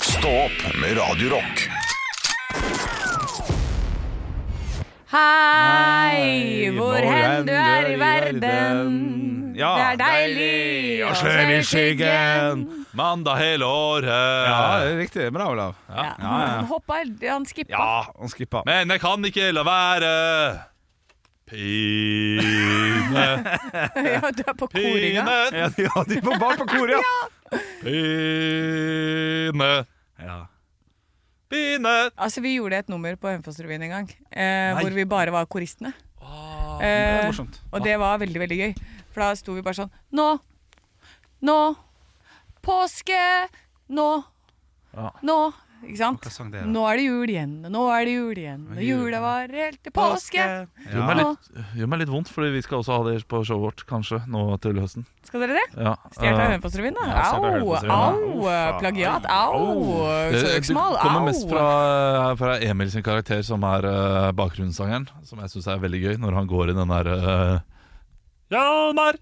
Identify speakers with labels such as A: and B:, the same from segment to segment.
A: Stå opp med Radio Rock.
B: Hei, hvor hen du er i verden.
C: Ja,
B: det er deilig
C: å svømme i skyggen mandag hele
D: Ja, det
C: året.
D: er riktig. Bra, Olav.
B: Ja.
D: ja, ja.
B: Han hoppa, han skippa.
D: Ja, han skippa.
C: Men jeg kan ikke la være. Pine,
B: Ja, du er på koringa.
C: pine,
D: Ja, de- ja, de var bare på kor, ja.
C: pine,
D: ja.
C: pine.
B: Altså, Vi gjorde et nummer på Hønefoss-revyen en gang, eh, hvor vi bare var koristene.
D: Det er
B: eh,
D: morsomt.
B: og det var veldig, veldig gøy. For da sto vi bare sånn Nå! Nå! Påske! Nå!
D: Ja.
B: Nå! Ikke sant?
D: Hva sang det, da?
B: Nå er det jul igjen, og nå er det jul igjen, og jula var helt til påske!
C: Det gjør
D: Ja.
C: meg, litt, gjør meg litt vondt, fordi vi skal også ha det på showet vårt, kanskje, nå til høsten.
B: Skal dere det?
C: Ja,
B: Stjålet av
C: eh,
B: Hønefoss-revyen, da?
D: Ja, stjålet av
B: Au!
D: Hønefoss-revyen, da.
B: Au!
D: Uff,
B: Plagiat!
D: au.
B: Au! Søksmål!
C: Eh, Det kommer mest fra, fra Emil sin karakter, som er eh, bakgrunnssangeren. Som jeg syns er veldig gøy, når han går i den der eh, Hjalmar!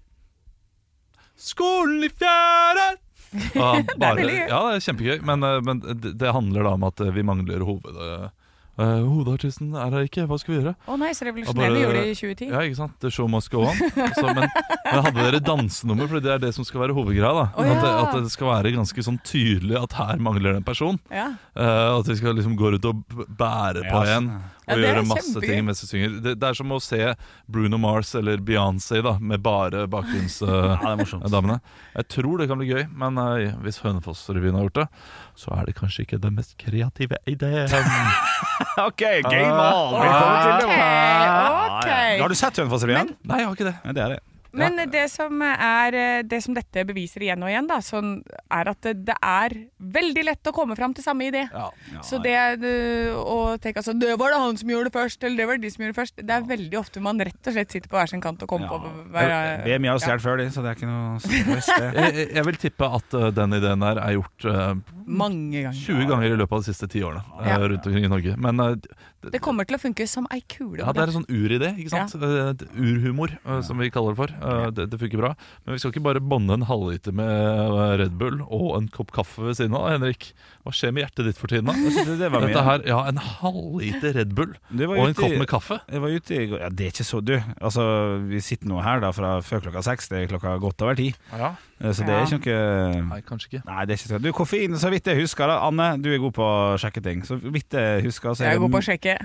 C: Skolen i fjære! Og han bare,
B: veldig gøy.
C: Ja, det er kjempegøy, men, eh, men det, det handler da om at eh, vi mangler hoved... eh, eh, hovedartisten er her ikke, hva skal vi gjøre?
B: Å nei, så
C: Ja,
B: revolusjonerende
C: bare-
B: gjorde de i 2010.
C: Ja, ikke sant? The show must go on. Så, men, men hadde dere dansenummer, for det er det som skal være hovedgreia. da
B: Å, ja.
C: at, det, at det skal være ganske sånn tydelig at her mangler det en person.
B: Ja.
C: Eh, at vi skal liksom gå rundt og b- bære på
D: Ja,
C: en
D: sånn,
B: ja.
C: og
B: Ja, det er
C: gjøre masse
B: kjempegøy.
C: ting mens vi synger. Det, det er som å se Bruno Mars eller Beyoncé da med bare
D: Ja, det er morsomt.
C: bakgrunnsdamene. Jeg tror det kan bli gøy, men eh, hvis Hønefoss-revyen har gjort det, så er det kanskje ikke den mest kreative ideen.
D: OK, game
C: Ah.
D: on! Velkommen til det.
B: Ok,
D: Har
B: ok.
D: du sett Hønefoss-revyen?
C: Nei, jeg har ikke det.
D: Ja, det er det.
B: Men det som, er, det som dette beviser igjen og igjen, da, sånn, er at det, det er veldig lett å komme fram til samme idé. Så det øh, å tenke altså, det var det han som gjorde det først, eller det var det de som gjorde det først, det er veldig ofte man rett og slett sitter på hver sin kant og kommer
D: Ja.
B: på hver
D: BMI har jo stjålet før, de, så det er ikke noe stress, det.
C: Jeg, jeg- jeg vil tippe at eh, den ideen her er gjort eh,
B: mange ganger.
C: 20 ganger i løpet av de siste ti årene eh,
B: Ja.
C: rundt omkring i Norge. Men eh,
B: Det kommer til å funke som ei kule.
C: ja, det er en sånn uridé, ikke sant? Eh, d- urhumor, eh, som vi kaller det for. Eh, det, det funker bra. Men vi skal ikke bare bonde en halvliter med eh, Red Bull og en kopp kaffe ved siden av, Henrik. Hva skjer med hjertet ditt for tiden, da?
D: Det, det var
C: Dette
D: mye.
C: her, ja, en halvliter Red Bull
D: Det var
C: og en
D: ute
C: kopp
D: i-
C: med kaffe.
D: Jeg var ute i går Ja, det er ikke så Du, altså, vi sitter nå her da fra før klokka seks, det er klokka godt over ti,
C: Ja.
D: Eh, så det er
B: Ja.
D: ikke noe
C: Nei, kanskje ikke.
D: Nei, det er ikke sant. Du, koffein, så vidt jeg husker da Anne, du er god på å sjekke ting Så vidt jeg husker så er
B: Jeg
D: det
B: går på å sjekke.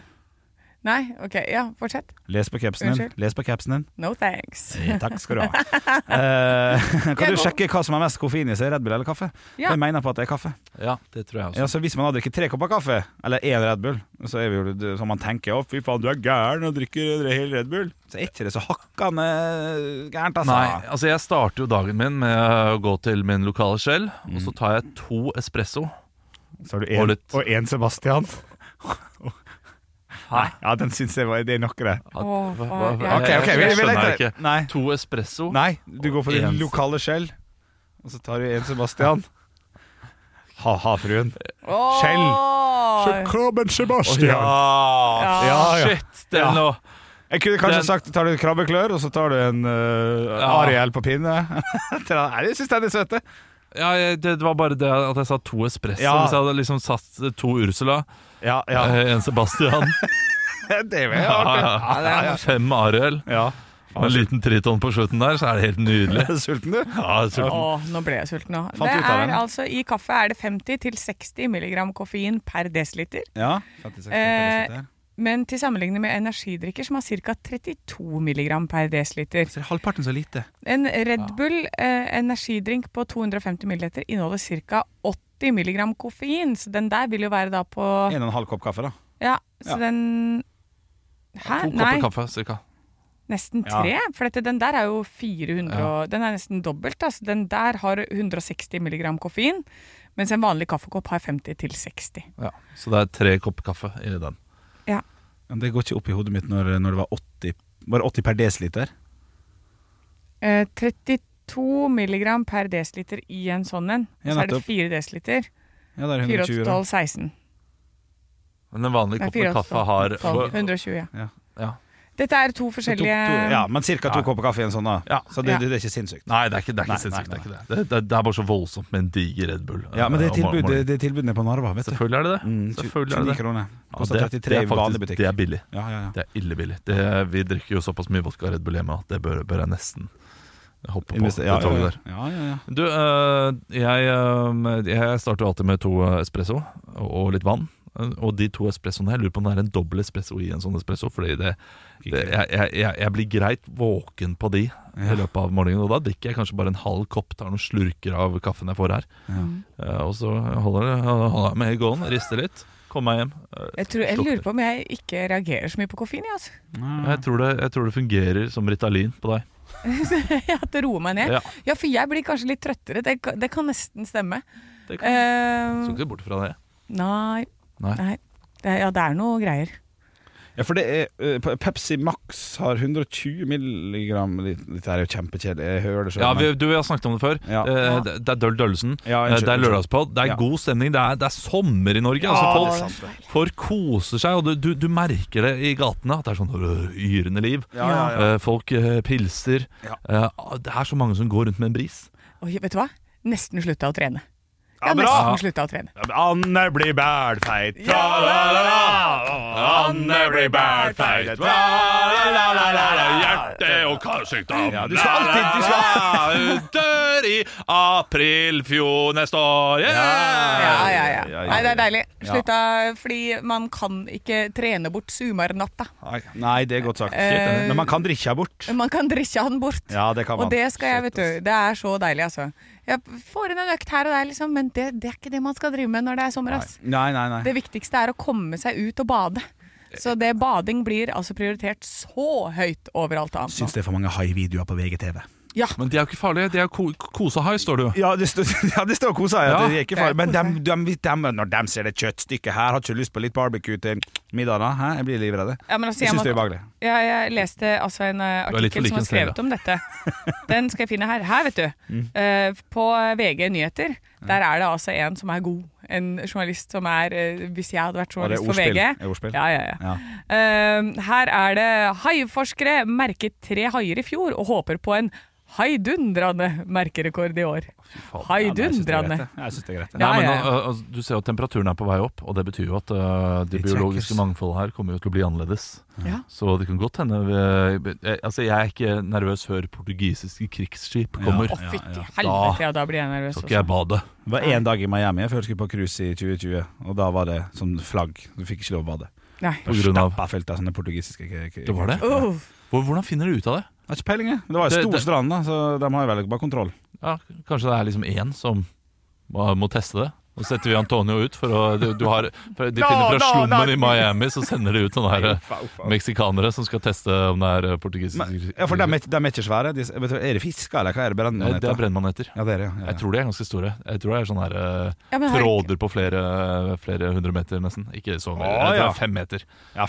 B: Nei, OK. Ja, fortsett.
D: Les på capsen din
B: Unnskyld.
D: Les på capsen din
B: No thanks.
D: Takk skal du ha Eh, Kan du sjekke hva som er mest koffein i seg Red Bull eller kaffe?
B: Ja.
D: Jeg mener på at det er kaffe
C: Ja, det tror jeg også.
D: ja, så Hvis man hadde drikket tre kopper kaffe Eller en Red Bull Så er vi jo det- Så man tenker Å fy faen, du er gæren Og drikker en hel Red Bull Så er ikke det så hakkende gærent altså
C: Nei, altså jeg starter jo dagen min med å gå til min lokale skjell, og så tar jeg to espresso.
D: Så har du
C: Og
D: en,
C: litt-
D: og en Sebastian
C: Hæ?
D: Ja, den synes jeg var Det er nok det
C: At-
B: Åh,
C: hva-
B: hva-
C: hva-
B: ja.
C: jeg- jeg- jeg skjønner
D: leter-
C: ikke.
D: Nei
C: To espresso?
D: Nei, du går for
C: Og
D: det
C: en-
D: lokale skjell, og så tar du en Sebastian. Ha-ha, fruen.
B: Åh!
D: Krabben
C: Å,
D: Sebastian.
C: ja.
B: Ja.
D: Ja, ja.
C: Shit! Det er
D: Ja.
C: noe
D: Jeg kunne kanskje
C: Den-
D: sagt tar du krabbeklør, og så tar du en eh,
C: Ja.
D: Ariel på pinne. Til han- Nei, det syns jeg er litt søte.
C: ja, jeg- det var bare det at jeg sa to espresso.
D: Ja.
C: Hvis jeg hadde liksom satt to Ursula,
D: Ja, ja.
C: eh, en Sebastian,
D: Det er vel artig.
C: fem Ariel
D: Ja.
C: og en liten Triton på slutten der, så er det helt nydelig.
D: Er du sulten, du?
C: Ja, jeg tror-
B: Åh, nå ble jeg sulten nå.
D: Fant
B: Det
D: ut av
B: er
D: den.
B: altså, I kaffe er det 50-60 mg koffein per desiliter.
D: Ja.
B: Eh, Men til sammenligning med energidrikker, som har ca. 32 mg per desiliter.
D: Så er det halvparten så lite.
B: En Red Bull eh, energidrink på 250 ml inneholder ca. 80 mg koffein, så den der vil jo være da på
D: En og en halv kopp kaffe, da.
B: Ja, så
D: Ja.
B: den Hæ?
C: To
B: Nei,
C: kopper kaffe, cirka.
B: nesten
D: Ja.
B: tre. For dette, den der er jo 400 og, Den er nesten dobbelt. Altså. Den der har 160 mg koffein, mens en vanlig kaffekopp har 50 til 60.
C: Ja. Så det er tre kopper kaffe i den.
B: Ja.
D: Men det går ikke opp i hodet mitt når, når det var 80, var det 80 per desiliter.
B: Eh, 32 mg per desiliter i en sånn en.
D: Ja,
B: så er det
D: nettopp.
B: 4 desiliter.
D: Ja, det er
B: 4, 8,
D: 120. da.
B: 12, 16.
C: Men en vanlig
B: Nei, 4,
C: kopp
B: 8,
C: med
D: Sånn,
C: kaffe har
B: 12, 120, ja.
C: ja.
B: Dette er to
D: To, to,
B: forskjellige
D: ja, men ca. to
C: Ja.
D: kopper kaffe i en sånn, da.
C: Ja.
D: Så det,
B: eh, Ja.
D: det, det er ikke sinnssykt.
C: Nei, det er ikke, det er ikke
D: Nei,
C: sinnssykt.
D: nei,
C: Det, er ikke det. Det, det, det er bare så voldsomt med en diger Red Bull.
D: Ja, men det
C: eh,
D: er,
C: om
D: tilbud,
C: morgenen.
D: det er tilbudene på Narva, vet du.
C: Selvfølgelig er det det.
D: Mm, tju-
C: Selvfølgelig er
D: 29
C: det. det.
D: kroner.
C: Ja,
D: Koster
C: det,
D: 33 i
C: er
D: vanlig
C: faktisk,
D: butikk.
C: det er billig.
D: Ja, ja, ja.
C: Det er ille billig. Det, vi drikker jo såpass mye vodka Red Bull hjemme at det bør, bør jeg nesten hoppe på
D: Investe- ja, ja,
C: det toget
D: ja.
C: der.
D: Ja, ja, ja.
C: Du, øh, jeg, øh, jeg starter jo alltid med to espresso og litt vann. Og de to espressoene Jeg lurer på om det er en dobbel espresso i en sånn espresso. Fordi det, det, jeg, jeg, jeg jeg blir greit våken på de i løpet av morgenen. Og da drikker jeg kanskje bare en halv kopp, tar noen slurker av kaffen jeg får her. Eh, Og så holder jeg holder jeg meg i gåen, rister litt, kommer meg hjem. Eh,
B: Jeg, tror, jeg lurer på om jeg ikke reagerer så mye på koffein. jeg, Altså.
C: Jeg tror, det, jeg tror det fungerer som Ritalin på deg.
B: At det roer meg ned.
C: Ja,
B: Ja, for jeg blir kanskje litt trøttere. Det, kan- det kan nesten stemme.
C: det kan,
B: Eh,
C: skal ikke bort fra det.
B: nei,
C: Nei.
B: nei. Det, er- ja, det er noe greier.
D: Ja, for det er eh, Pe- Pepsi Max har 120 milligram Dette er jo kjempekjedelig, jeg hører det selv
C: Ja, vi,
D: men-
C: du, vi har snakket om det før.
D: Ja.
C: Eh,
B: Ja.
C: Det, det er Døll Døllesen.
D: Ja,
C: Eh,
D: unnskyld,
C: det er
D: unnskyld.
C: lørdagspodd. Det er
D: Ja.
C: god stemning. Det er, det er sommer i Norge.
D: det er
C: altså,
D: sant, det.
C: folk, folk koser seg, og du, du, du merker det i gatene. At det er sånn øh, yrende liv.
D: Ja, ja, ja.
C: Eh, folk eh, pilser. Eh, det er så mange som går rundt med en bris.
B: Oi, vet du hva? Nesten slutta å trene. Jeg
D: Ja,
B: har
D: bra!
B: nesten slutta å trene.
D: Anne blir bælfeit, tra-la-la-la. Anne blir bælfeit, tra-la-la-la-la.
C: Hjerte- og karsykdom.
D: Ja, du skal alltid- du skal-
C: Dør i april fjor neste år.
D: Ja.
B: Ja, ja, ja.
D: Ja, ja, ja.
B: Nei, det er deilig.
D: Ja.
B: Slutta fordi man kan ikke trene bort sumarnatta.
D: Nei, det er godt sagt.
B: Eh,
D: Men man kan drikke her bort.
B: Men Man kan drikke han bort.
D: Ja, det kan man.
B: Og det skal jeg,
D: Shit,
B: vet du. Det er så deilig, altså. Jeg får inn en økt her og der, liksom, men det, det er ikke det man skal drive med når det er sommer.
D: ass.
B: Ass.
D: Nei, nei, nei.
B: Det viktigste er å komme seg ut og bade. Så det bading blir altså prioritert så høyt overalt annet. nå.
D: Syns det er for mange hai-videoer på VGTV.
B: Ja.
C: Men de er jo ikke farlige. De er ko kosehai, står det jo.
D: Ja, det står, ja, det står kosa her.
C: Ja.
D: det er ikke farlig. Men dem, dem, dem, når de ser det kjøttstykket her, har ikke lyst på litt barbecue til middag da? Hæ? Jeg blir livredd. jeg.
B: Ja, men altså, jeg,
D: Jeg syns det er
B: må,
D: ubehagelig.
B: ja, jeg leste altså en eh,
C: Du er litt for
B: artikkel
C: lik
B: som
C: en
B: har
C: snelle.
B: skrevet om dette. Den skal jeg finne her. Her, vet du.
D: Mm.
B: Eh, på VG Nyheter. Der er det altså en som er god. En journalist som er eh, Hvis jeg hadde vært
D: Og det
B: journalist
D: er
B: for
D: ordspill.
B: VG
D: Er ordspill.
B: Ja, ja, ja.
D: Ja.
B: Ehm, her er det haiforskere merket tre haier i fjor og håper på en haidundrende merkerekord i år. Haidundrende.
D: Jeg syns det er greit.
B: Ja,
C: Nei, men,
B: ja, ja.
C: uh, altså, du ser jo at temperaturen er på vei opp, og det betyr jo at uh, det
D: Litt
C: biologiske
D: kjekkes.
C: mangfoldet her kommer jo til å bli annerledes.
B: Ja.
C: Så det kan godt hende vi, jeg, altså, jeg er ikke nervøs før portugisiske krigsskip kommer.
B: Å, fytti
D: ja.
B: helvete, ja, da blir jeg nervøs altså.
C: Så skal jeg
B: også.
C: bade.
D: Det var én dag i Miami før jeg skulle på cruise i 2020, og da var det som flagg. Du fikk ikke lov å bade.
B: Nei.
C: På grunn av
D: Stappa fullt av sånne portugisiske k- k-
C: Det var det?
B: Uh,
C: Hvor- Hvordan finner du ut av det?
D: Jeg har ikke peiling, jeg. Det var jo
C: Det-
D: stor
C: det-
D: strand, da, så de har jo vel bare kontroll.
C: Ja, kanskje det er liksom én som må, må teste det. Og så setter vi Antonio ut, for å, du, du har, for de finner fra slummen i Miami, så sender de ut sånne her eh, meksikanere som skal teste om det er eh, portugisiske
D: Men, ja, for de er, ikke- de er ikke svære. De, vet du, er det fisker, eller hva er det?
C: Nei,
D: Brennmanet?
C: Det er brennmaneter.
D: Ja, det er det, ja. ja, ja.
C: Jeg tror de er ganske store. Jeg tror det er sånne her, eh,
B: ja, men har ikke-
C: tråder på flere, flere hundre meter, nesten. Ikke så
D: Å,
C: mye. Jeg tror det
D: ja.
C: er fem meter.
D: Ja,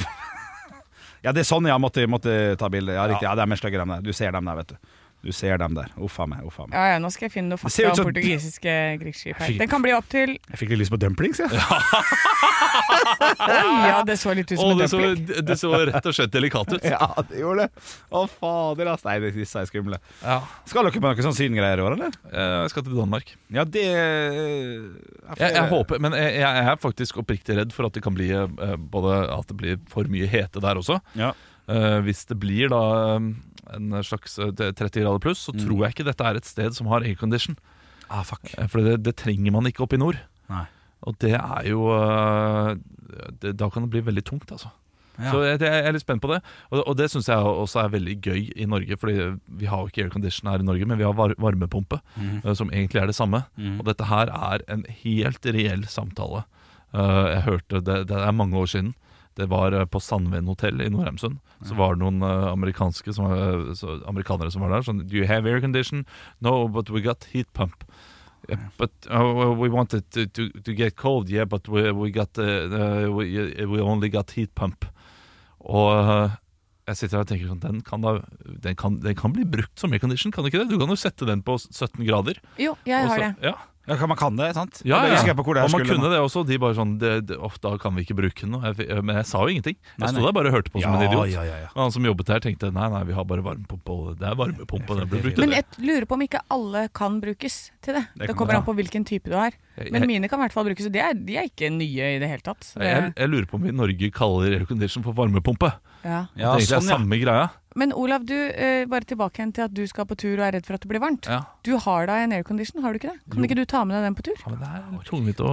D: ja det er sånn jeg måtte, måtte ta bilde. Ja, riktig. Ja, de er stygge, de der. Du ser dem der, vet du. Du ser dem der. Uff a meg. Uff a meg.
B: ja, ja, nå skal jeg finne noe fakta
D: ser ut
B: om
D: som-
B: portugisiske krigsskip her.
C: Fy-
B: Den kan bli opp til
D: Jeg fikk litt lyst på dumplings, jeg. Ja.
B: Oi, ja, det så litt ut som
C: Å,
B: en
C: det, så,
B: dumpling.
C: det så rett og slett delikat ut.
D: det gjorde det. Å, fader, ass. Nei, det- disse er skumle.
C: Ja.
D: Skal dere på noe sånn syngreier i år, eller?
C: Eh, Jeg skal til Danmark.
D: Ja, det eh,
C: Jeg, jeg håper, men jeg, jeg er faktisk oppriktig redd for at det kan bli eh, både at det blir for mye hete der også.
D: Ja.
C: Eh, hvis det blir da eh, en slags eh, 30 grader pluss, så
B: Mm.
C: tror jeg ikke dette er et sted som har aircondition.
D: Ah, fuck.
C: Eh, For det, det trenger man ikke oppe i nord.
D: Nei.
C: Og det er jo eh, det, Da kan det bli veldig tungt, altså.
D: Ja.
C: Så jeg, jeg er litt spent på det. Og, og det syns jeg også er veldig gøy i Norge. Fordi vi har jo ikke aircondition her i Norge, men vi har var varmepumpe,
D: Mm,
C: eh, som egentlig er det samme. Og dette her er en helt reell samtale. Eh, jeg hørte det, det er mange år siden. Det var eh, på Sandven hotell i Nordheimsund. Så var det noen eh, amerikanske som, var- så, amerikanere som var der. Sånn Do you have air condition? No, but we got heat pump. Yeah, but uh, well, we wanted to, to, to get cold, yeah, but we, we got uh, uh, we, uh, we only got heat pump. Og uh, jeg sitter her og tenker sånn Den kan, da, den kan, den kan bli brukt som aircondition, kan den ikke det? Du kan jo sette den på 17 grader.
B: Jo, jeg
C: og så-
B: har det.
C: Ja.
D: Ja, kan- man kan det, sant?
C: Ja,
D: Jeg bare
C: ja.
D: husker jeg på hvor det her
C: og man
D: skulle
C: kunne det også. De bare sånn det, det, «Åh, Da kan vi ikke bruke den nå. Jeg fi- Men jeg sa jo ingenting.
D: Nei,
C: Jeg sto
D: nei.
C: der bare og hørte på som en
D: Ja,
C: idiot.
D: ja, ja, ja.
C: Men han som jobbet der, tenkte nei, nei, vi har bare varmepumpe. og Det er varmepumpe. Den blir brukt.
B: Men jeg lurer på om ikke alle kan brukes til det. Det,
D: kan
B: kommer
D: være.
B: an på hvilken type du har.
C: Jeg-
B: Men
C: jeg-
B: mine kan i hvert fall brukes, og de er, de er ikke nye i det hele tatt. Så
C: jeg,
B: Det,
C: jeg lurer på om vi i Norge kaller aircondition for varmepumpe.
B: ja.
D: Ja,
C: det er egentlig
D: sånn,
C: er
D: ja.
C: samme greia.
B: Men Olav, du, eh, bare tilbake igjen til at du skal på tur og er redd for at det blir varmt.
C: Ja.
B: Du har da en aircondition, har du ikke det? Kan ikke du ta med deg den på tur?
C: Ja, men det er tungvint å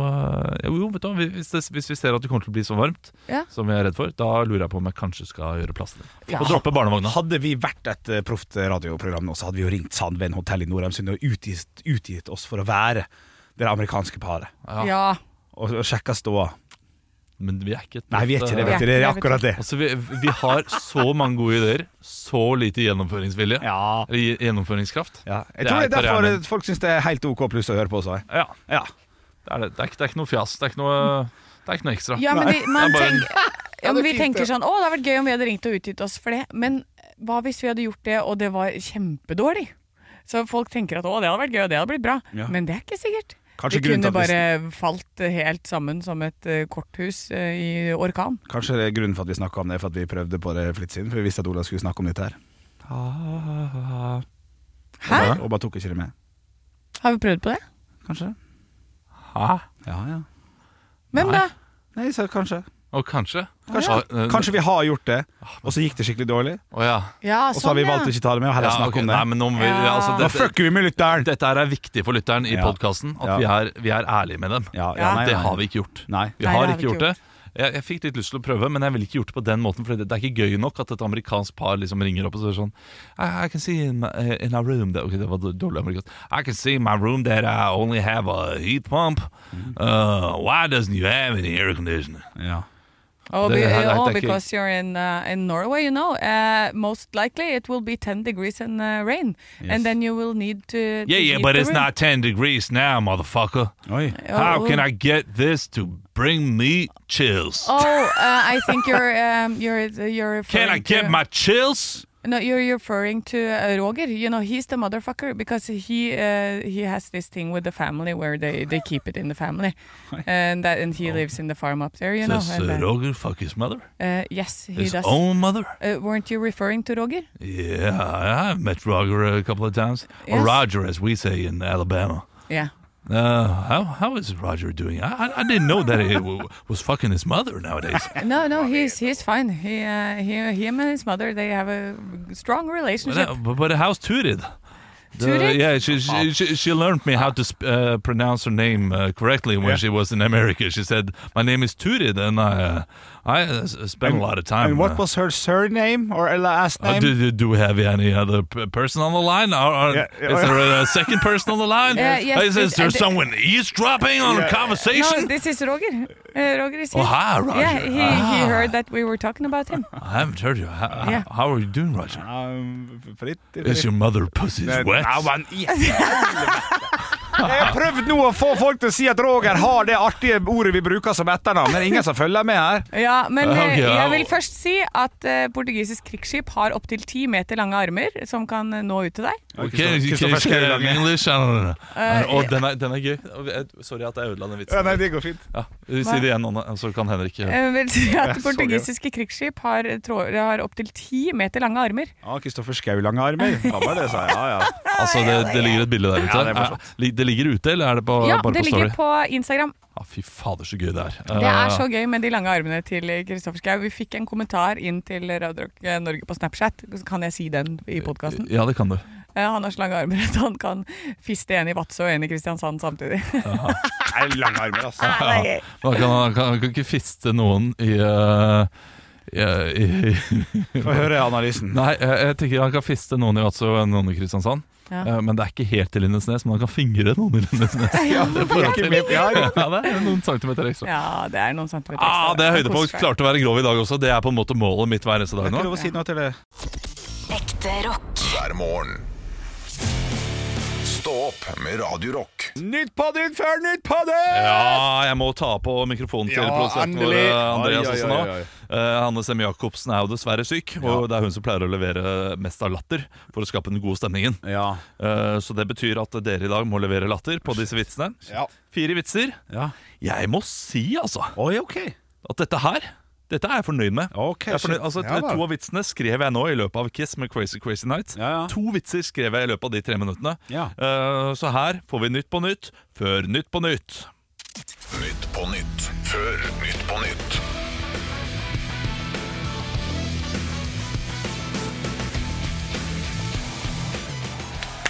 C: Jo, jo, vet du, hva, hvis, det, hvis vi ser at det kommer til å bli så varmt
B: Ja.
C: som jeg er redd for, da lurer jeg på om jeg kanskje skal gjøre plass til det.
B: Ja.
C: Og droppe barnevogna.
D: Hadde vi vært et eh, proft radioprogram nå, så hadde vi jo ringt Sandven hotell i Nordheimsund og utgitt, utgitt oss for å være det amerikanske paret.
C: Ja.
B: Ja.
D: Og, og sjekka ståa.
C: Men vi er ikke et
D: Nei, vi er ikke
B: Vi
D: det,
B: er
D: vet du. Det er
B: ikke det,
D: akkurat det.
C: Altså, vi, vi har så mange gode ideer, så lite gjennomføringsvilje.
D: Ja.
C: Eller gje- gjennomføringskraft.
D: ja.
C: Det
D: Jeg tror
C: er
D: det er derfor
C: karrieren
D: eh, folk syns det er helt OK pluss å høre på også. eh.
C: Ja,
D: Ja.
C: det er det. Det er, ikke- det er ikke noe fjas. Det er ikke noe, det er ikke noe ekstra.
B: Ja, men vi, man
C: Det er bare en-
B: tenk, ja, men
D: det er
B: vi
D: fint,
B: tenker
D: det.
B: sånn Å, det hadde vært gøy om vi hadde ringt og utgitt oss for det. Men hva hvis vi hadde gjort det, og det var kjempedårlig? Så folk tenker at å, det hadde vært gøy, og det hadde blitt bra.
D: Ja.
B: Men det er ikke sikkert.
D: Kanskje
B: vi
D: grunnen til
B: kunne
D: at vi-
B: bare falt eh, helt sammen som et eh, korthus eh, i orkan.
D: Kanskje det er grunnen for at vi snakka om det, er for at vi prøvde på det for litt siden. For vi visste at Olav skulle snakke om dette her.
B: Hæ?
D: Og bare tok ikke det med.
B: Har vi prøvd på det?
D: Kanskje.
C: Hæ?
D: Ja, ja.
B: Hvem da?
D: Nei, så kanskje.
C: Og kanskje.
D: Kanskje,
C: Ah, eh,
D: kanskje vi har gjort det, og så gikk det skikkelig dårlig.
C: Å ja.
B: Ja,
D: Og så har
B: sånn,
D: vi
B: ja.
D: valgt å ikke ta det med, og heller
C: Ja,
D: snakke
C: ok.
D: om det.
C: Nei, men nå må vi,
B: Ja.
C: altså,
D: Nå
C: dette,
D: fucker vi med lytteren!
C: dette her er viktig for lytteren i
D: Ja.
C: podkasten. At
D: Ja.
C: vi, er, vi er ærlige med dem.
D: Ja,
B: Ja.
D: nei,
C: Det
D: nei.
C: har vi ikke gjort.
D: Nei.
C: Vi
B: Nei,
C: har
B: det
C: ikke gjort det. Jeg, jeg fikk litt lyst til å prøve, men jeg ville ikke gjort det på den måten. For det, det er ikke gøy nok at et amerikansk par liksom ringer opp og sier sånn I, I can see in, my, in our room that, Ok, det var dårlig amerikansk. I can see in my room that I only have a heat pump. Uh, why doesn't you have any air conditioner?
D: Ja.
B: Oh,
C: Det
B: be,
C: her er
B: oh,
C: ikke-
B: because you're in uh, in Norway, you know. Uh, most likely it will be 10 degrees and uh, rain, and then you will need to. to
C: Yeah, yeah,
B: heat
C: but
B: the
C: it's
B: room.
C: not 10 degrees now, motherfucker.
D: Oi.
B: Oh,
C: How
B: oh.
C: can I get this to bring me chills?
B: Oh, uh, I think you're um, you're you're.
C: Can I
B: referring
C: get
B: to-
C: my chills?
B: No, you're you're referring to uh, Roger. You know, he's the motherfucker because he uh, he has this thing with the family where they, they keep it in the family, and that and he lives in the farm up there. You know,
C: Does
B: and,
C: Oh. uh,
B: uh,
C: Roger fuck his mother?
B: uh, yes, he
C: his
B: does.
C: own mother?
B: Uh, weren't you referring to Roger?
C: Yeah, I- I've met Roger a couple of times. Or
B: Yes.
C: Roger, as we say in Alabama.
B: Yeah.
C: Uh, how, how is Roger doing? I, I- I didn't know that he w- was fucking his mother nowadays.
B: No, no, he's he's fine. He, uh, he him and his mother they have a strong
C: But,
B: relationship.
C: uh, but, but how's Turid? The-
B: Turid?
C: yeah, she,
D: Oh.
C: she she she learned me how to sp- uh, pronounce her name uh, correctly when
D: Yeah.
C: she was in America. She said, "My name is Turid," and I uh, I uh, s- spent a lot of time.
D: And
C: uh,
D: what was her surname or her last
C: Uh,
D: name?
C: do, do, do we have any other p- person on the line? Or, or
D: Yeah, yeah.
C: Is there a second person on the line?
B: Yeah, Uh, yes,
C: is, is
B: this-
C: there
B: and the-
C: someone eavesdropping on a conversation?
B: no, this is Roger. Uh, Roger is
C: Oh,
B: here.
C: hi, Roger.
B: Yeah, he,
C: Ah.
B: he heard that we were talking about him.
C: I haven't heard you. How,
B: Yeah.
C: how- how are you doing, Roger?
D: Um, fritt, fritt.
C: Is your mother pussy's
D: Nei,
C: wet?
D: nei, men i helvete. Jeg har prøvd nå å få folk til å si at Roger har det artige ordet vi bruker som etternavn, men det er ingen som følger med her.
B: Ja, men eh,
C: Ok, ja.
B: jeg vil først si at eh, portugisisk krigsskip har opptil ti meter lange armer som kan eh, nå ut til deg.
C: Okay, you can
D: Kristoffer
C: share
D: Schau
C: in
D: lager-
C: English. I don't know. Uh, og den er, den er gøy. Og jeg- Sorry at jeg ødela den
D: Ja,
C: vitsen.
D: nei, det går fint.
C: Ja, vi sier det igjen, Anne, så kan Henrik uh,
B: Jeg vil Eh, si at
D: så gøy.
B: portugisiske krigsskip har, eh, trå- har opptil ti meter lange armer.
D: Ja, Kristoffer Schau lange armer. Ja, bare det, sa jeg. Ja, ja.
C: Altså, det, det ligger et bilde der ute.
D: Ja, det er sånn. morsomt.
C: Eh, li- det ligger ute, eller er det på,
B: Ja,
C: bare
B: det
C: på
B: ligger
C: story?
B: på Instagram.
C: Ah, fy fader, så gøy det er.
B: Det er
C: Eh,
B: så gøy med de lange armene til Kristoffer Schau. Vi fikk en kommentar inn til Rødrock Norge på Snapchat. Kan jeg si den i podkasten?
C: Ja, det kan du.
B: Han har så lange armer at han kan fiste en i Vadsø og en i Kristiansand samtidig.
D: Nei, lange armer, altså.
C: Ja. Man kan, man kan, man kan ikke fiste noen i, eh, i, i
D: Få høre analysen.
C: Nei, jeg, jeg tenker han kan fiste noen i Vadsø og noen i Kristiansand.
B: Ja.
C: Eh, Men det er ikke helt til Lindesnes, men han kan fingre noen i Lindesnes.
D: Ja, det får jeg ikke med på. Ja, ja.
C: Ja, det er noen centimeter ekstra.
B: Ja, det er noen centimeter.
C: Ah,
B: ekstra.
C: det er
B: Han koser
C: høydepunkt.
B: seg.
C: Klarte å være grov i dag også. Det er på en måte målet mitt hver eneste
D: Det er
C: dag
D: ikke
C: nå.
D: lov å si noe til det.
E: Ekte rock.
A: hver morgen. Stå opp med Radio Rock.
D: Nytt på nytt før nytt på nytt!
C: Ja, jeg må ta på mikrofonen til
D: Ja,
C: produsenten vår,
D: endelig.
C: eh, Andreas
D: Oi, oi,
C: også
D: oi,
C: nå.
D: oi.
C: Eh, Hanne Semme Jacobsen er jo dessverre syk, og det er hun som pleier å levere mest av latter for å skape den gode stemningen.
D: Ja.
C: Eh, Så det betyr at dere i dag må levere latter på disse vitsene.
D: Ja.
C: Fire vitser.
D: ja.
C: Jeg må si, altså,
D: Oi, OK.
C: at dette her Dette er jeg fornøyd med.
D: Ok,
C: jeg er fornøyd,
D: shit.
C: altså,
D: Ja, vel.
C: to av vitsene skrev jeg nå i løpet av Kiss med Crazy Crazy Night.
D: Ja, ja.
C: To vitser skrev jeg i løpet av de tre minuttene.
D: Ja.
C: Eh, så her får vi Nytt på nytt før Nytt på nytt.
A: Nytt på nytt før Nytt på nytt.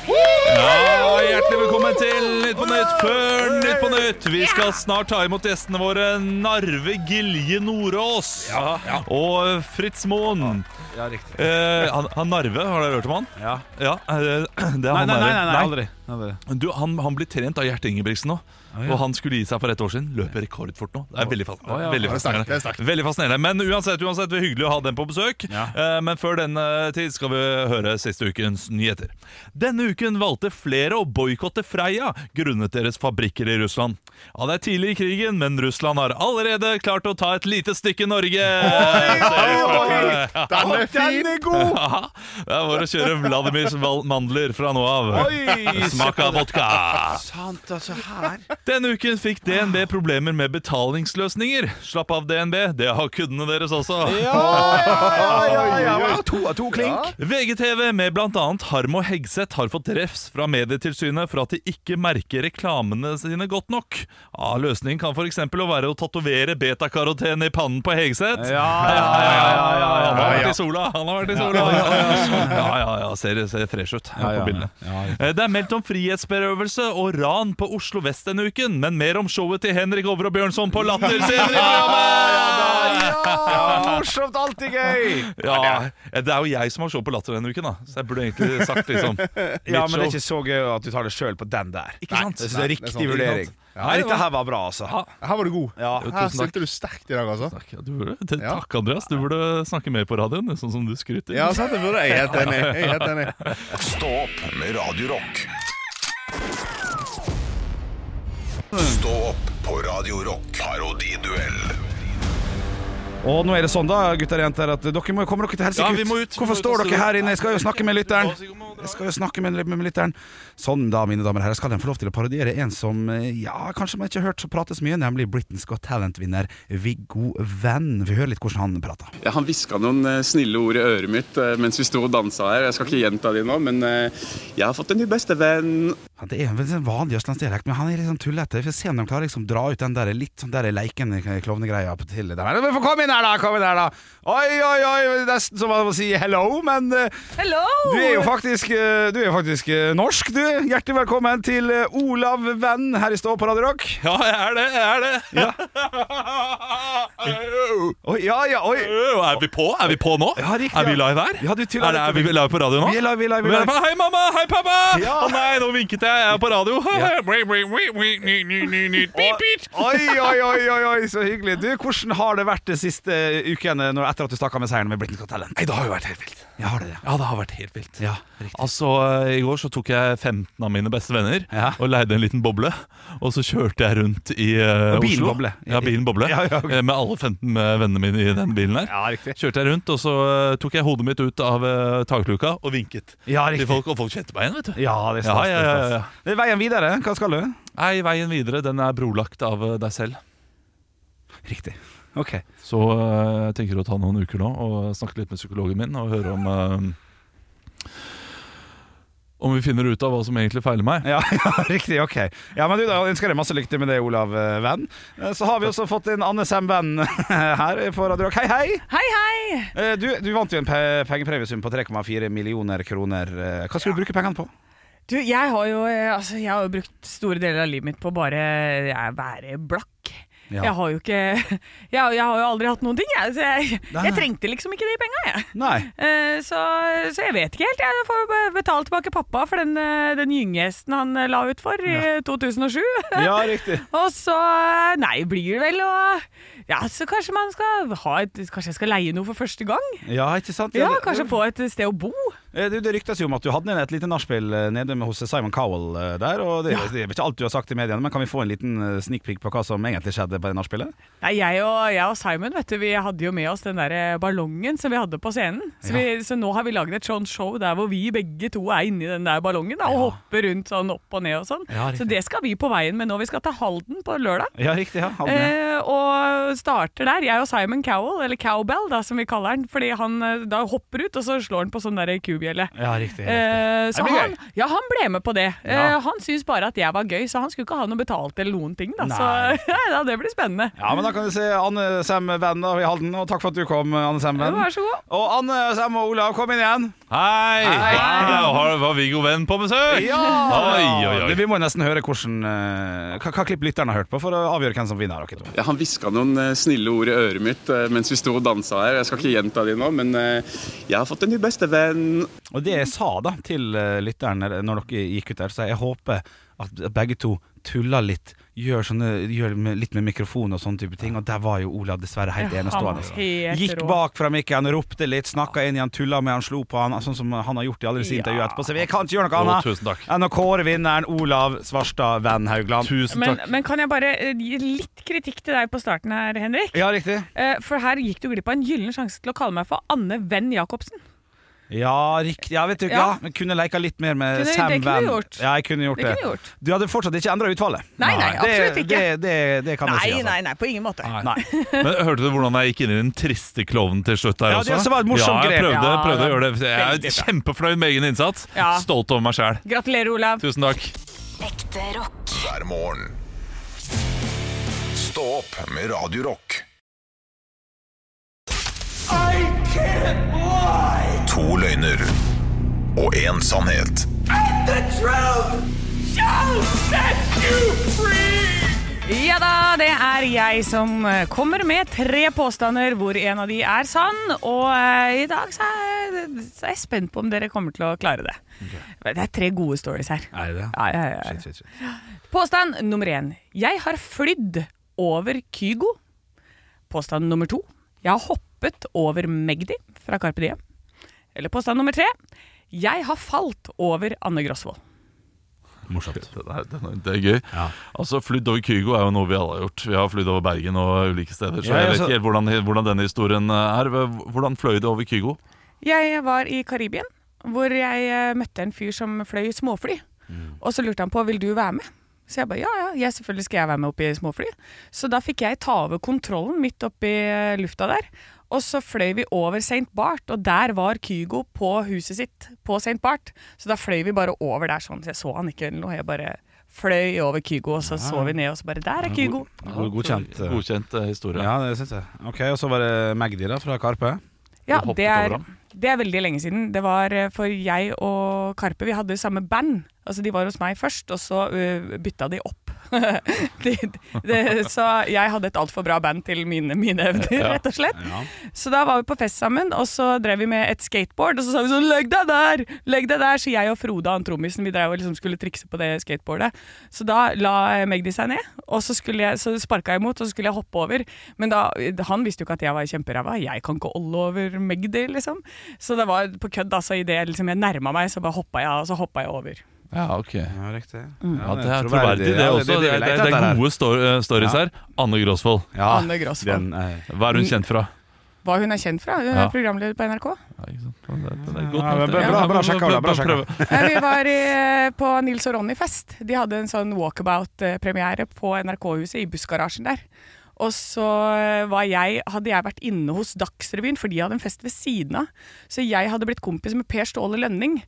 C: Ja, hjertelig velkommen til Nytt på nytt før Nytt på nytt. Vi skal snart ta imot gjestene våre Narve Gilje Nordås og Fritz Moen.
D: Ja, riktig.
C: Eh, han, han Narve, har dere hørt om han?
D: Ja.
C: Ja, eh, det er
D: Nei,
C: han
D: nei, nei,
C: der.
D: nei, nei, aldri. aldri.
C: Du, han, han blir trent av Gjert Ingebrigtsen nå. Og han skulle gi seg for et år siden. Løper rekordfort nå. Det er veldig fascinerende.
D: ja.
C: Veldig fascinerende. Veldig fascinerende. Men uansett, uansett, det er hyggelig å ha den på besøk.
D: Ja.
C: Eh, Men før den eh, tid skal vi høre siste ukens nyheter. Denne uken valgte flere å boikotte Freia grunnet deres fabrikker i Russland. Ja, det er tidlig i krigen, men Russland har allerede klart å ta et lite stykke Norge.
E: Den er fin!
D: er god!
C: Ja, det er bare å kjøre Vladimirs val- mandler fra nå av.
D: Oi,
C: Smak av vodka!
D: Sant, altså. Her.
C: Denne uken fikk DNB problemer med betalingsløsninger. Slapp av, DNB. Det har kundene deres også.
D: Ja, ja, ja, ja. To av to klink.
C: VGTV med bl.a. Harm og Hegseth har fått refs fra Medietilsynet for at de ikke merker reklamene sine godt nok. Ja, løsningen kan f.eks. være å tatovere betakaroten i pannen på Hegseth.
D: Ja, ja, ja, ja, ja, ja.
C: Han har vært i sola! Han har vært i sola Ja, ja, ja, ser, ser fresh ut
D: Ja, ja,
C: på bildet.
D: ja, ja.
C: Eh, Det er meldt om frihetsberøvelse og ran på Oslo vest denne uken, men mer om showet til Henrik Over og Bjørnson på Latter senere i programmet!
D: Ja, morsomt, alltid gøy!
C: Ja, eh, det er jo jeg som har show på Latter denne uken, da, så jeg burde egentlig sagt liksom mitt
D: Ja, men det
C: show.
D: er ikke så gøy at du tar det sjøl på den der.
C: Ikke sant?
D: Jeg synes det er
E: Nei, det er
D: riktig
E: sant.
D: vurdering. Nei, dette her var bra, altså.
C: Ja.
E: Her var du god.
D: Ja.
E: Her
C: tusen takk.
E: stilte du sterkt i dag, altså.
C: Takk, ja, du burde, t-
E: Ja.
C: takk, Andreas. Du burde snakke mer på radioen, sånn som du skryter.
E: Ja, sant, det burde jeg. Jeg er helt enig. Jeg er helt enig.
A: Stå opp med Radio Rock.
E: Mm.
A: Stå opp på Radio Rock. Parodiduell.
D: Og nå er det sånn, da, gutter og jenter, at dere må jo komme dere til helsike
C: Ja, vi må ut.
D: ut. Hvorfor
C: Vi må ut og
D: står
C: stå
D: dere her inne? Jeg skal jo snakke med lytteren.
C: Ja, så kommer dere.
D: Jeg skal jo snakke med, med lytteren. Sånn, da, mine damer og herrer, skal en få lov til å parodiere en som eh, ja, kanskje man ikke har hørt så prate så mye, nemlig Britain's Got Talent-vinner Viggo Venn. Vi hører litt hvordan han prater.
F: Ja, han hviska noen eh, snille ord i øret mitt eh, mens vi sto og dansa her. Jeg skal ikke gjenta de nå, men eh, jeg har fått en ny bestevenn.
D: Ja, Det er en veldig vanlig østlandsdialekt, men han er litt sånn tullete. Vi får se om de klarer liksom dra ut den der litt sånn der leikende klovnegreia på- til det der. Men få komme inn her, da! Kom inn her, da! Oi, oi, oi! Nesten som å si hello, men eh,
B: Hello!
D: du er jo faktisk, eh, du er jo faktisk eh, norsk, du. Hjertelig velkommen til eh, Olav Venn her i Stå på Radio Rock.
C: Ja, jeg er det, jeg er det!
D: Oi, ja, ja, oi!
C: Er vi på? Er vi på nå?
D: Ja, riktig,
C: er vi
D: ja.
C: live her?
D: Ja, du tuller
C: er, det, er vi live på radio nå?
D: Vi er live, vi er live, vi er
C: Vi er
D: live.
C: på- Hei, mamma! Hei, pappa! Å
D: Ja.
C: nei, nå vinket jeg. Jeg er på radio.
D: Ja.
C: Beep, beep.
D: Oi, oi, oi, oi, oi, så hyggelig. Du, Hvordan har det vært de siste ukene når, etter at du stakk av med seieren med Britain's Got Talent?
C: Nei, det har jo vært helt vilt.
D: Ja, har det det?
C: Ja, det har vært helt vilt.
D: Ja, riktig.
C: Altså, I går så tok jeg 15 av mine beste venner
D: Ja.
C: og leide en liten boble. Og så kjørte jeg rundt i eh,
D: Og bilen
C: Oslo.
D: boble.
C: Ja, bilen boble.
D: Ja, ja, ok.
C: Eh, Med alle 15 vennene mine i den bilen her.
D: Ja, riktig.
C: Kjørte jeg rundt, og så eh, tok jeg hodet mitt ut av eh, takluka og vinket
D: Ja,
C: til
D: riktig.
C: folk. Og folk kjente meg igjen, vet du.
D: Ja, det er stas.
C: Ja, ja, ja,
D: det er stas. Det er veien videre. Hva skal du?
C: Nei, veien videre den er brolagt av eh, deg selv.
D: Riktig. Ok.
C: Så eh, jeg tenker å ta noen uker nå og snakke litt med psykologen min og høre om eh, Om vi finner ut av hva som egentlig feiler meg.
D: Ja, ja, riktig. ok Ja, men du da ønsker deg masse lykke til med det, Olav eh, Venn. Eh, Så har vi også fått inn Anne Sem Venn her på Radio Rock. Hei, hei!
B: Hei, hei!
D: Eh, Du, du vant jo en pe- pengepremiesum på 3,4 millioner kroner. Eh, Hva skulle du bruke pengene på?
B: Du, jeg har jo eh, altså, jeg har jo brukt store deler av livet mitt på å bare eh, være blakk.
D: Ja.
B: Jeg har jo ikke jeg, jeg har jo aldri hatt noen ting, jeg. Så jeg,
D: Nei,
B: jeg
D: nei.
B: trengte liksom ikke de penga, jeg.
D: Nei.
B: Eh, Så, så jeg vet ikke helt. Jeg får be- betale tilbake pappa for den, eh, den gyngehesten han eh, la ut for i 2007.
D: Ja, riktig.
B: Og så eh, Nei, blir det vel å Ja, så kanskje man skal ha et Kanskje jeg skal leie noe for første gang?
D: Ja, ikke sant?
B: Ja, Kanskje få et sted å bo?
D: Eh, Det, det ryktes jo om at du hadde ned et lite nachspiel eh, nede med hos Simon Cowell eh, der. Og det, det er vel ikke alt du har sagt i mediene, men kan vi få en liten eh, sneak peek på hva som egentlig skjedde på det nachspielet?
B: Nei, jeg og, jeg og Simon vet du, vi hadde jo med oss den der eh, ballongen som vi hadde på scenen. Så,
D: Ja.
B: vi, så nå har vi laget et sånt show der hvor vi begge to er inni den der ballongen da, og
D: Ja.
B: hopper rundt sånn opp og ned og sånn.
D: Ja, riktig.
B: så det skal vi på veien med nå. Vi skal til Halden på lørdag.
D: Ja, riktig. ja hadde ned.
B: Eh, og starter der, jeg og Simon Cowell, eller Cowbell da, som vi kaller han, fordi han eh, da hopper ut, og så slår han på sånn der kubjelle.
D: Ja, riktig, riktig.
B: Eh, så
D: Det blir
B: han, ja, han ble med på det.
D: Ja.
B: Eh, han syntes bare at jeg var gøy, så han skulle ikke ha noe betalt eller noen ting. Da. Så
D: Nei.
B: nei, da, det blir spennende.
D: Ja, men da kan du se Anne Sem Venn i Halden, og takk for at du kom, eh, Anne Sem Venn.
B: Vær så god.
D: Og Anne Sem og Olav, kom inn igjen.
C: Hei! Wow, har- var Viggo Venn på besøk? Oi, oi,
D: Det,
C: oi.
D: vi må nesten høre hvordan, eh, hva, hva klipp lytterne har hørt på for å avgjøre hvem som vinner. dere to.
F: Ja, han hviska noen eh, snille ord i øret mitt eh, mens vi sto og dansa her. Jeg skal ikke gjenta de nå, men eh, jeg har fått en ny bestevenn.
D: Og det jeg sa da til eh, lytteren når- når dere gikk ut der, så jeg håper at begge to tuller litt. Gjør, sånne, gjør med, litt med mikrofon og sånne type ting. Og der var jo Olav dessverre helt
B: Ja, han var
D: enestående.
B: helt
D: altså. Gikk
B: rå.
D: bak fra mikken, ropte litt, snakka inn i han, tulla med han, slo på han, sånn som han har gjort i alle disse
B: Ja.
D: intervjuer etterpå. Så jeg kan ikke gjøre noe
C: Å,
D: annet
C: tusen takk.
D: enn å kåre vinneren Olav Svarstad Venn Haugland.
C: Tusen
B: Men,
C: takk.
B: men kan jeg bare eh, gi litt kritikk til deg på starten her, Henrik?
D: Ja, riktig.
B: Eh, For her gikk du glipp av en gyllen sjanse til å kalle meg for Anne Venn Jacobsen.
D: Ja, riktig. Ja, vet du, ja.
B: Ja.
D: men kunne leka litt mer med
B: Kunne- det
D: Sam
B: kunne du
D: Van.
B: gjort.
D: Ja, jeg kunne gjort det.
B: Det kunne du gjort.
D: Du hadde fortsatt ikke endra utfallet.
B: Nei, nei, absolutt
D: det,
B: ikke.
D: Det, det, det kan jeg si. Altså.
B: nei, på ingen måte.
D: Nei.
C: Men Hørte du hvordan jeg gikk inn i den triste klovnen til slutt? der
D: Ja,
C: også?
D: det også var et morsomt
C: ja, jeg
D: grep.
C: prøvde,
B: Ja,
C: prøvde å gjøre det. Jeg
B: veldig
C: er
B: bra.
C: kjempefornøyd med egen innsats.
B: Ja.
C: Stolt over meg sjæl.
B: Gratulerer, Olav.
C: Tusen takk.
G: Ekte rock.
A: hver morgen. Stå opp med Radio Rock. To løgner og én sannhet.
B: Ja da, det er jeg som eh, kommer med tre påstander, hvor en av de er sann. Og eh, i dag så er, så er jeg spent på om dere kommer til å klare det. Det er tre gode stories her.
D: Er det det?
B: Ja, ja, ja, ja.
D: Shit, shit, shit.
B: Påstand nummer én. Jeg har flydd over Kygo. Påstand nummer to. Jeg har hoppet over Magdi fra Carpe Diem. Eller påstand nummer tre. Jeg har falt over Anne Grosvold.
D: Morsomt.
C: Det, der, det, er- det er gøy. Altså, Flydd over Kygo er jo noe vi alle har gjort. Vi har flydd over Bergen og ulike steder.
D: Ja, altså-
C: Så jeg
D: ja,
C: vet
D: så-
C: ikke helt hvordan, hvordan denne historien eh, er. Hvordan fløy du over Kygo?
B: Jeg var i Karibien, hvor jeg eh, møtte en fyr som fløy småfly. Og så lurte han på vil du være med. Så jeg bare ja, ja, jeg selvfølgelig skal jeg være med opp i småfly. Så da fikk jeg ta over kontrollen midt oppi eh, lufta der. Og så fløy vi over St. Bart, og der var Kygo på huset sitt på St. Bart. Så da fløy vi bare over der sånn. Så jeg så han ikke eller noe. Jeg bare fløy over Kygo, og så så vi ned, og så bare Der er Kygo.
D: God, godkjent. eh.
C: Godkjent eh, historie.
D: Ja, det syns jeg. Ok, Og så var det Magdi da, fra Karpe.
B: Ja,
C: Du hoppet
B: det er,
C: over ham?
B: det er veldig lenge siden. Det var eh, for jeg og Karpe, vi hadde samme band. Altså, de var hos meg først, og så eh, bytta de opp. de, det, så jeg hadde et altfor bra band til mine, mine evner, rett og slett. Så da var vi på fest sammen, og så drev vi med et skateboard. Og så sa vi sånn 'legg deg der!' legg deg der Så jeg og Frode, han trommisen, vi drev og liksom skulle trikse på det skateboardet. Så da la Magdi seg ned, og så, skulle jeg- så sparka jeg imot, og så skulle jeg hoppe over. Men da, han visste jo ikke at jeg var kjemperæva. Jeg kan ikke olle over Magdi, liksom. Så det var på kødd, altså. Idet liksom, jeg nærma meg, så bare hoppa jeg, og så hoppa jeg over.
C: Ja, ok.
D: Ja, riktig.
B: Mm.
C: Ja, det er troverdig, det også. Det, er- det, er- det er gode sto- eh, stories
D: Ja. Mm.
C: her. Anne Grosvold,
D: Ja,
B: Anne Grosvold.
D: Ah, den er
C: hva er hun kjent fra?
B: Hva hun er kjent fra? Hun er
C: Ja.
B: programleder på NRK.
C: Ja, ikke sant? Det er- det er godt
D: Ja,
C: nok,
D: men bra-
C: det.
D: bra- bra
C: Ja,
D: sjekka, Ola, bra
C: prøve-
D: sjekka.
B: Nei, vi var i, på Nils og Ronny-fest. De hadde en sånn walkabout-premiere på NRK-huset i bussgarasjen der. Og så eh, var jeg, hadde jeg vært inne hos Dagsrevyen, for de hadde en fest ved siden av. Så jeg hadde blitt kompis med Per Ståle Lønning.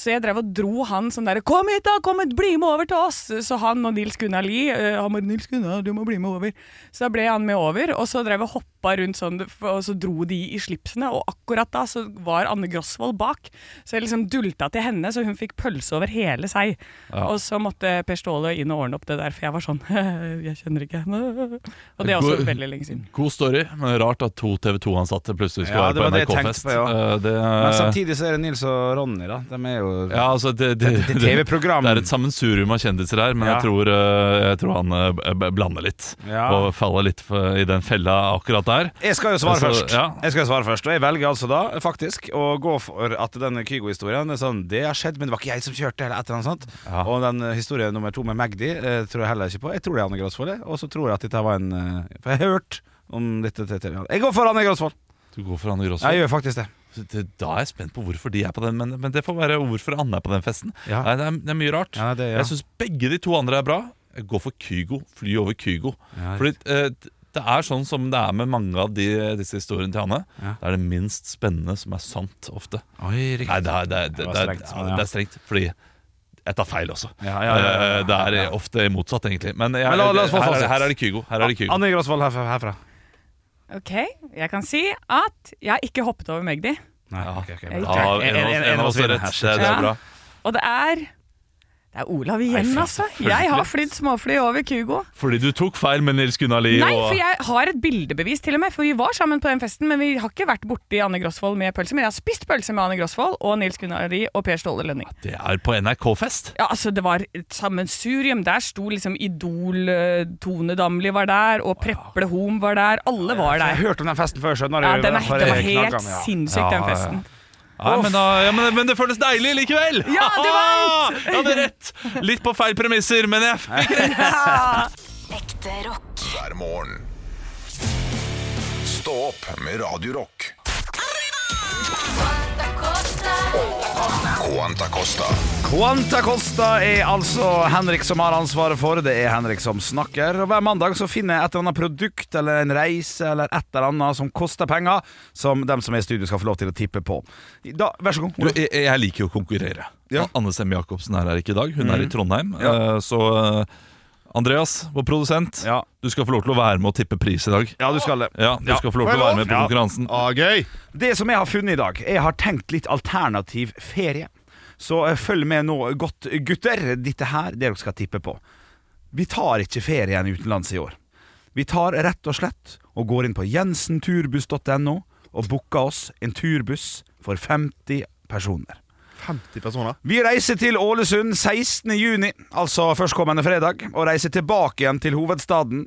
B: Så jeg drev og dro han sånn derre 'Kom hit, da! Kom hit, bli med over til oss!' Så han og Nils Gunnar Lie eh, Han bare 'Nils Gunnar, du må bli med over'. Så da ble han med over, og så drev jeg og hoppa rundt sånn, og så dro de i slipsene. Og akkurat da så var Anne Grosvold bak, så jeg liksom dulta til henne, så hun fikk pølse over hele seg. Og så måtte Per Ståle inn og ordne opp det der, for jeg var sånn Jeg kjenner ikke henne. Og det er også
C: God-
B: veldig lenge siden.
C: God story, men rart at to TV 2-ansatte plutselig skal
D: Ja,
C: være
D: det var
C: på
D: det jeg tenkte
C: NRK-fest.
D: på, ja.
C: Eh, det,
D: Men samtidig så er det Nils og Ronny, da. De er jo
C: ja, altså, det, det,
D: Det er TV-program.
C: det er et sammensurium av kjendiser her, men
D: Ja.
C: jeg, tror, eh, jeg tror han eh, b- b- blander litt.
D: Ja.
C: Og faller litt for- i den fella akkurat dette her.
D: Jeg skal jo svare
C: Altså,
D: først.
C: ja.
D: Jeg skal jo svare først Og jeg velger altså da faktisk å gå for at den Kygo-historien er sånn Det har skjedd, men det var ikke jeg som kjørte, eller et eller annet sånt.
C: Ja.
D: Og den eh, historien nummer to med Magdi eh, tror jeg heller ikke på. Jeg tror det er Anne Grosvold, jeg. Og så tror jeg at dette var en eh, For jeg har hørt om dette til til- Jeg går for Anne Grosvold!
C: Du går for Anne
D: Jeg
C: Grosvold.
D: gjør faktisk det.
C: Det- Da er jeg spent på hvorfor de er på den, men, men det får være hvorfor Anne er på den festen.
D: Ja.
C: Nei, det, er, det er mye rart.
D: Ja, det, ja.
C: Jeg syns begge de to andre er bra. Jeg går for Kygo. Fly over Kygo.
D: Ja,
C: Fordi eh, det er sånn som det er med mange av de, disse historiene til Anne.
D: Ja.
C: Det er det minst spennende som er sant, ofte.
D: Oi, riktig.
C: Nei, det er, det, er- det,
D: Det var
C: det, er-
D: strengt,
C: ja,
D: men ja.
C: det er strengt, fordi jeg tar feil også.
D: Ja, ja, ja, ja, ja,
C: Eh, Det er ofte motsatt, egentlig. Men, jeg,
D: Men la- la oss få
C: her, er,
D: fasit.
C: her er det Kygo. Her er det Kygo.
D: Anne Grosvold herfra. herfra.
B: Ok, jeg kan si at jeg har ikke hoppet over Magdi.
D: Nei,
C: Ja.
D: ok, ok,
B: Jeg-
C: Ja, en, av oss- en av oss er rett. Det, det
B: Ja.
C: er bra.
B: Og det er Det er Olav igjen, altså. Jeg har flydd småfly over Kygo.
C: Fordi du tok feil med Nils Gunnar Lie.
B: Nei,
C: og-
B: for jeg har et bildebevis til og med, for vi var sammen på den festen, men vi har ikke vært borti Anne Grosvold med pølse, men jeg har spist pølse med Anne Grosvold og Nils Gunnar Lie og Per Ståle Lønning.
C: Det er på NRK-fest.
B: Ja, altså Det var et sammensurium. Der sto liksom Idol, eh, Tone Damli var der, og Preple Hom var der. Alle var
D: Jeg har
B: der.
D: hørt om den festen før, skjønner du.
B: Ja, den, er,
D: Derfor
B: den var
D: jeg knakk
B: helt
D: om, ja.
B: sinnssyk, den festen.
C: Ja, men, da, ja, men, men det føles deilig likevel!
B: Ja, du vant!
C: Jeg hadde rett! Litt på feil premisser, men jeg fikk rett.
G: Ekte rock.
A: hver morgen. Stå opp med Radio Rock. Quanta Costa.
D: Quanta Costa er altså Henrik som har ansvaret for. Det er Henrik som snakker. Og Hver mandag så finner jeg et eller annet produkt eller en reise eller et eller annet som koster penger, som dem som er i studio skal få lov til å tippe på. Da, vær så god.
C: Du,
D: Olav.
C: jeg, jeg liker jo å konkurrere.
D: Ja. Mhm.
C: Anne Semme Jacobsen er her ikke i dag. Hun er i Trondheim.
D: Ja.
C: Eh, Så eh, Andreas, vår produsent,
D: Ja.
C: du skal få lov til å være med og tippe pris i dag.
D: ja, du skal det.
C: Ja, Du
D: Ja.
C: skal få lov
E: Får
C: til
E: jeg
C: å være
E: lov?
C: med på
D: Ja.
C: konkurransen.
E: Ah, gøy!
D: Det som jeg har funnet i dag Jeg har tenkt litt alternativ ferie Så eh, følg med nå godt gutter Dette her, det dere skal tippe på Vi tar ikke ferien utenlands i år Vi tar rett og slett Og går inn på jensenturbuss.no Og booker oss en turbuss For 50 personer
E: 50 personer.
D: vi reiser til Ålesund 16. juni, altså førstkommende fredag, og reiser tilbake igjen til hovedstaden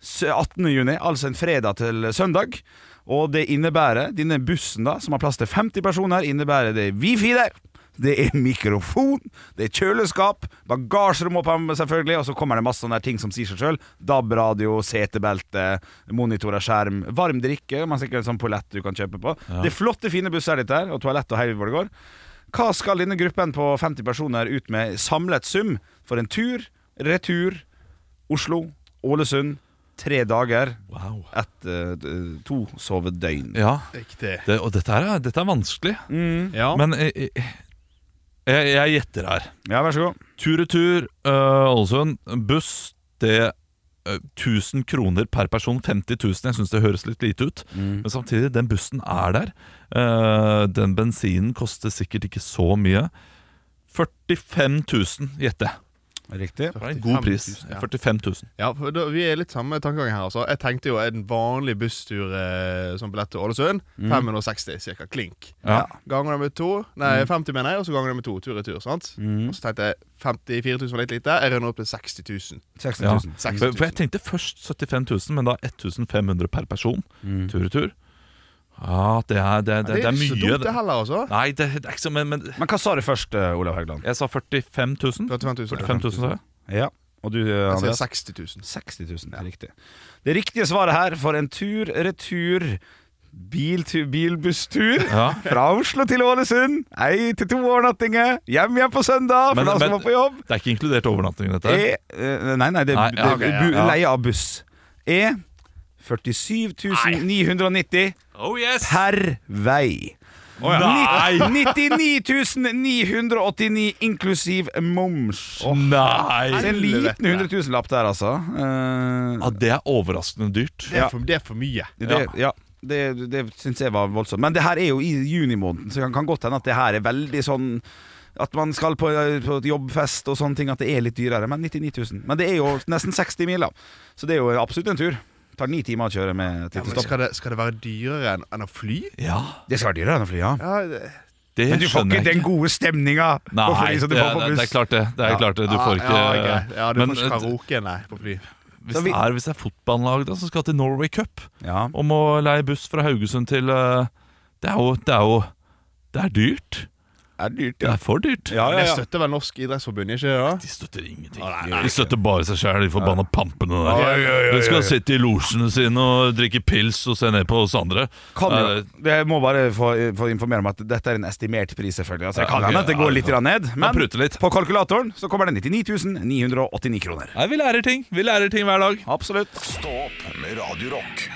D: s- 18. juni, altså en fredag til søndag. Og det innebærer, denne bussen da, som har plass til 50 personer, innebærer det wifi der, det er mikrofon, det er kjøleskap, bagasjerom opp her selvfølgelig, og så kommer det masse sånne ting som sier seg selv. DAB-radio, setebelte, monitorer, skjerm, varm drikke, man sikkert en sånn polett du kan kjøpe på. Det er flotte, fine busser dette her, og toalett og hei hvor det går. Hva skal denne gruppen på 50 personer ut med samlet sum for en tur, retur, Oslo, Ålesund, tre dager,
C: Wow.
D: ett, eh, d- to sovedøgn?
C: Ja,
E: Riktig.
C: det, og dette, her er, dette er vanskelig,
D: Mhm.
E: Ja.
C: men eh, eh, jeg, jeg gjetter her.
D: Ja, vær så god.
C: Tur-retur eh, Ålesund. buss, det eh, 1000 kroner per person, 50 000. Jeg syns det høres litt lite ut.
E: Mm.
C: Men samtidig, den bussen er der. Eh, den bensinen koster sikkert ikke så mye. 45 000, gjetter jeg.
D: Riktig.
C: Det er en god pris. 45 000.
E: Ja, for da, Vi er litt samme tankegang her. altså Jeg tenkte jo en vanlig busstur eh, som billett til Ålesund. 560 cirka, klink.
C: Ja.
E: Ganger det med to Nei, 50 mener jeg, og så ganger det med to tur-retur. sant? Og Så tenkte jeg 54 000 var litt lite. Jeg runder opp til 60 000.
D: 60
C: Ja.
D: 000.
C: For,
E: 60 000.
C: for jeg tenkte først 75 000, men da 1500 per person. Tur-retur. Ja, det er, det, det, det er
E: ikke så
C: mye.
E: dumt, Mm. det heller, altså.
C: Nei, det, det er ikke så Men, men
D: Men hva sa du først, eh, Olav Haugland?
C: jeg sa 45 000.
E: 45 000.
C: 45 000, sa jeg.
D: Ja. Og du, eh,
E: Jeg sier
D: Andreas?
E: 60 000.
D: 60 000, det er riktig. Det riktige svaret her for en tur, retur, biltu- bilbusstur
C: Ja.
D: fra Oslo til Ålesund, ei til to overnattinger, hjem igjen på søndag, for
C: Men-
D: da skal
C: men-
D: man på jobb.
C: Det er ikke inkludert overnatting i dette? her.
D: E, eh, nei, nei, det er
C: Nei, ja,
D: det er
E: ok, ja,
D: bu-
E: ja.
D: leie av buss. E 47.990
C: Oh yes!
D: per vei.
C: Nei!
D: Nitt- 99.989 inklusiv moms. Så
C: Nei!
D: en liten 100 000-lapp der, altså. Eh,
C: Ja, det er overraskende dyrt.
E: Det er for, det er for mye.
D: det, ja. Det, det syns jeg var voldsomt. Men det her er jo i junimåneden, så det kan godt hende at det her er veldig sånn at man skal på, på et jobbfest og sånne ting, at det er litt dyrere. Men 99 000. Men det er jo nesten 60 mil, da. Så det er jo absolutt en tur. Tar ni timer å kjøre med
E: Ja,
D: tid
E: men
D: til stopp.
E: skal, det, skal det være dyrere enn, enn å fly?
C: Ja,
D: Det skal være dyrere enn å fly, ja.
E: Ja, det,
C: det
D: Men du får
C: skjønner
D: ikke
C: jeg
D: den gode stemninga
C: Nei,
D: på fly som du
C: det,
D: får på
C: det, det er
D: buss.
C: klart det. det, er klart det. Du får ikke
E: Ah, ja, ok. ja, du
C: men
E: får ikke karaoke, nei, på fly.
C: Hvis
D: Så
C: det
D: vi-
C: er, hvis det er fotballag da, som skal til Norway Cup
D: Ja.
C: og må leie buss fra Haugesund til eh, Det er jo Det er, jo, det er dyrt.
D: Det er dyrt,
C: Det er for dyrt.
D: Ja, ja,
E: Jeg
D: ja.
E: støtter vel Norsk idrettsforbund, ikke det?
C: De støtter ingenting. de støtter bare seg sjæl, de forbanna pampene der. De skal sitte i losjene sine og drikke pils og se ned på oss andre. Eh,
D: Kan
C: Nei,
D: jo,
C: det-
D: Eh, jeg må bare få, få informere om at dette er en estimert pris, selvfølgelig. Altså, det kan
C: Ja,
D: hende at det
C: ja,
D: går
C: ja.
D: litt grann ned, men
C: pruter litt.
D: på kalkulatoren så kommer det 99 989 kroner.
C: Nei, vi lærer ting. Vi lærer ting hver dag.
D: Absolutt.
A: Stå opp med Radio Rock.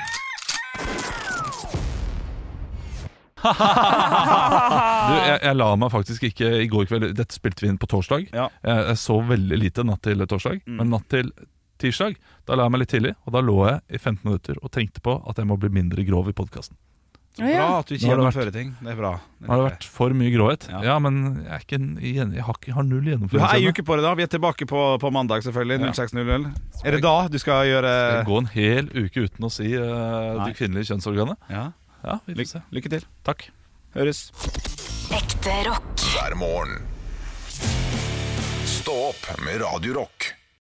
C: Du, jeg, jeg la meg faktisk ikke i går kveld Dette spilte vi inn på torsdag.
D: Ja. Mm.
C: Jeg, jeg så veldig lite natt til torsdag, men natt til tirsdag Da la jeg meg litt tidlig, og da lå jeg i 15 minutter og tenkte på at jeg må bli mindre grov i podkasten.
B: Ja, ja.
D: Bra at du ikke
C: Nå har det
D: gjennomfører ting. Det er bra. Det
C: Har det vært for mye gråhet?
D: Ja.
C: Ja, men jeg, er ikke, en- igjen- jeg har, ikke, har null
D: Du har ei
C: gjennomføringsevne.
D: uke på deg, da. Vi er tilbake på, på mandag, selvfølgelig. 06.00. Er det da du skal gjøre
C: Jeg går en hel uke uten å si eh,
D: Nei.
C: det kvinnelige kjønnsorganet.
D: ja.
C: Ja, vi får se.
D: Lykke, lykke til.
C: Takk.
D: Høres.
G: Ekte rock.
A: hver morgen. Stå opp med Radio Rock.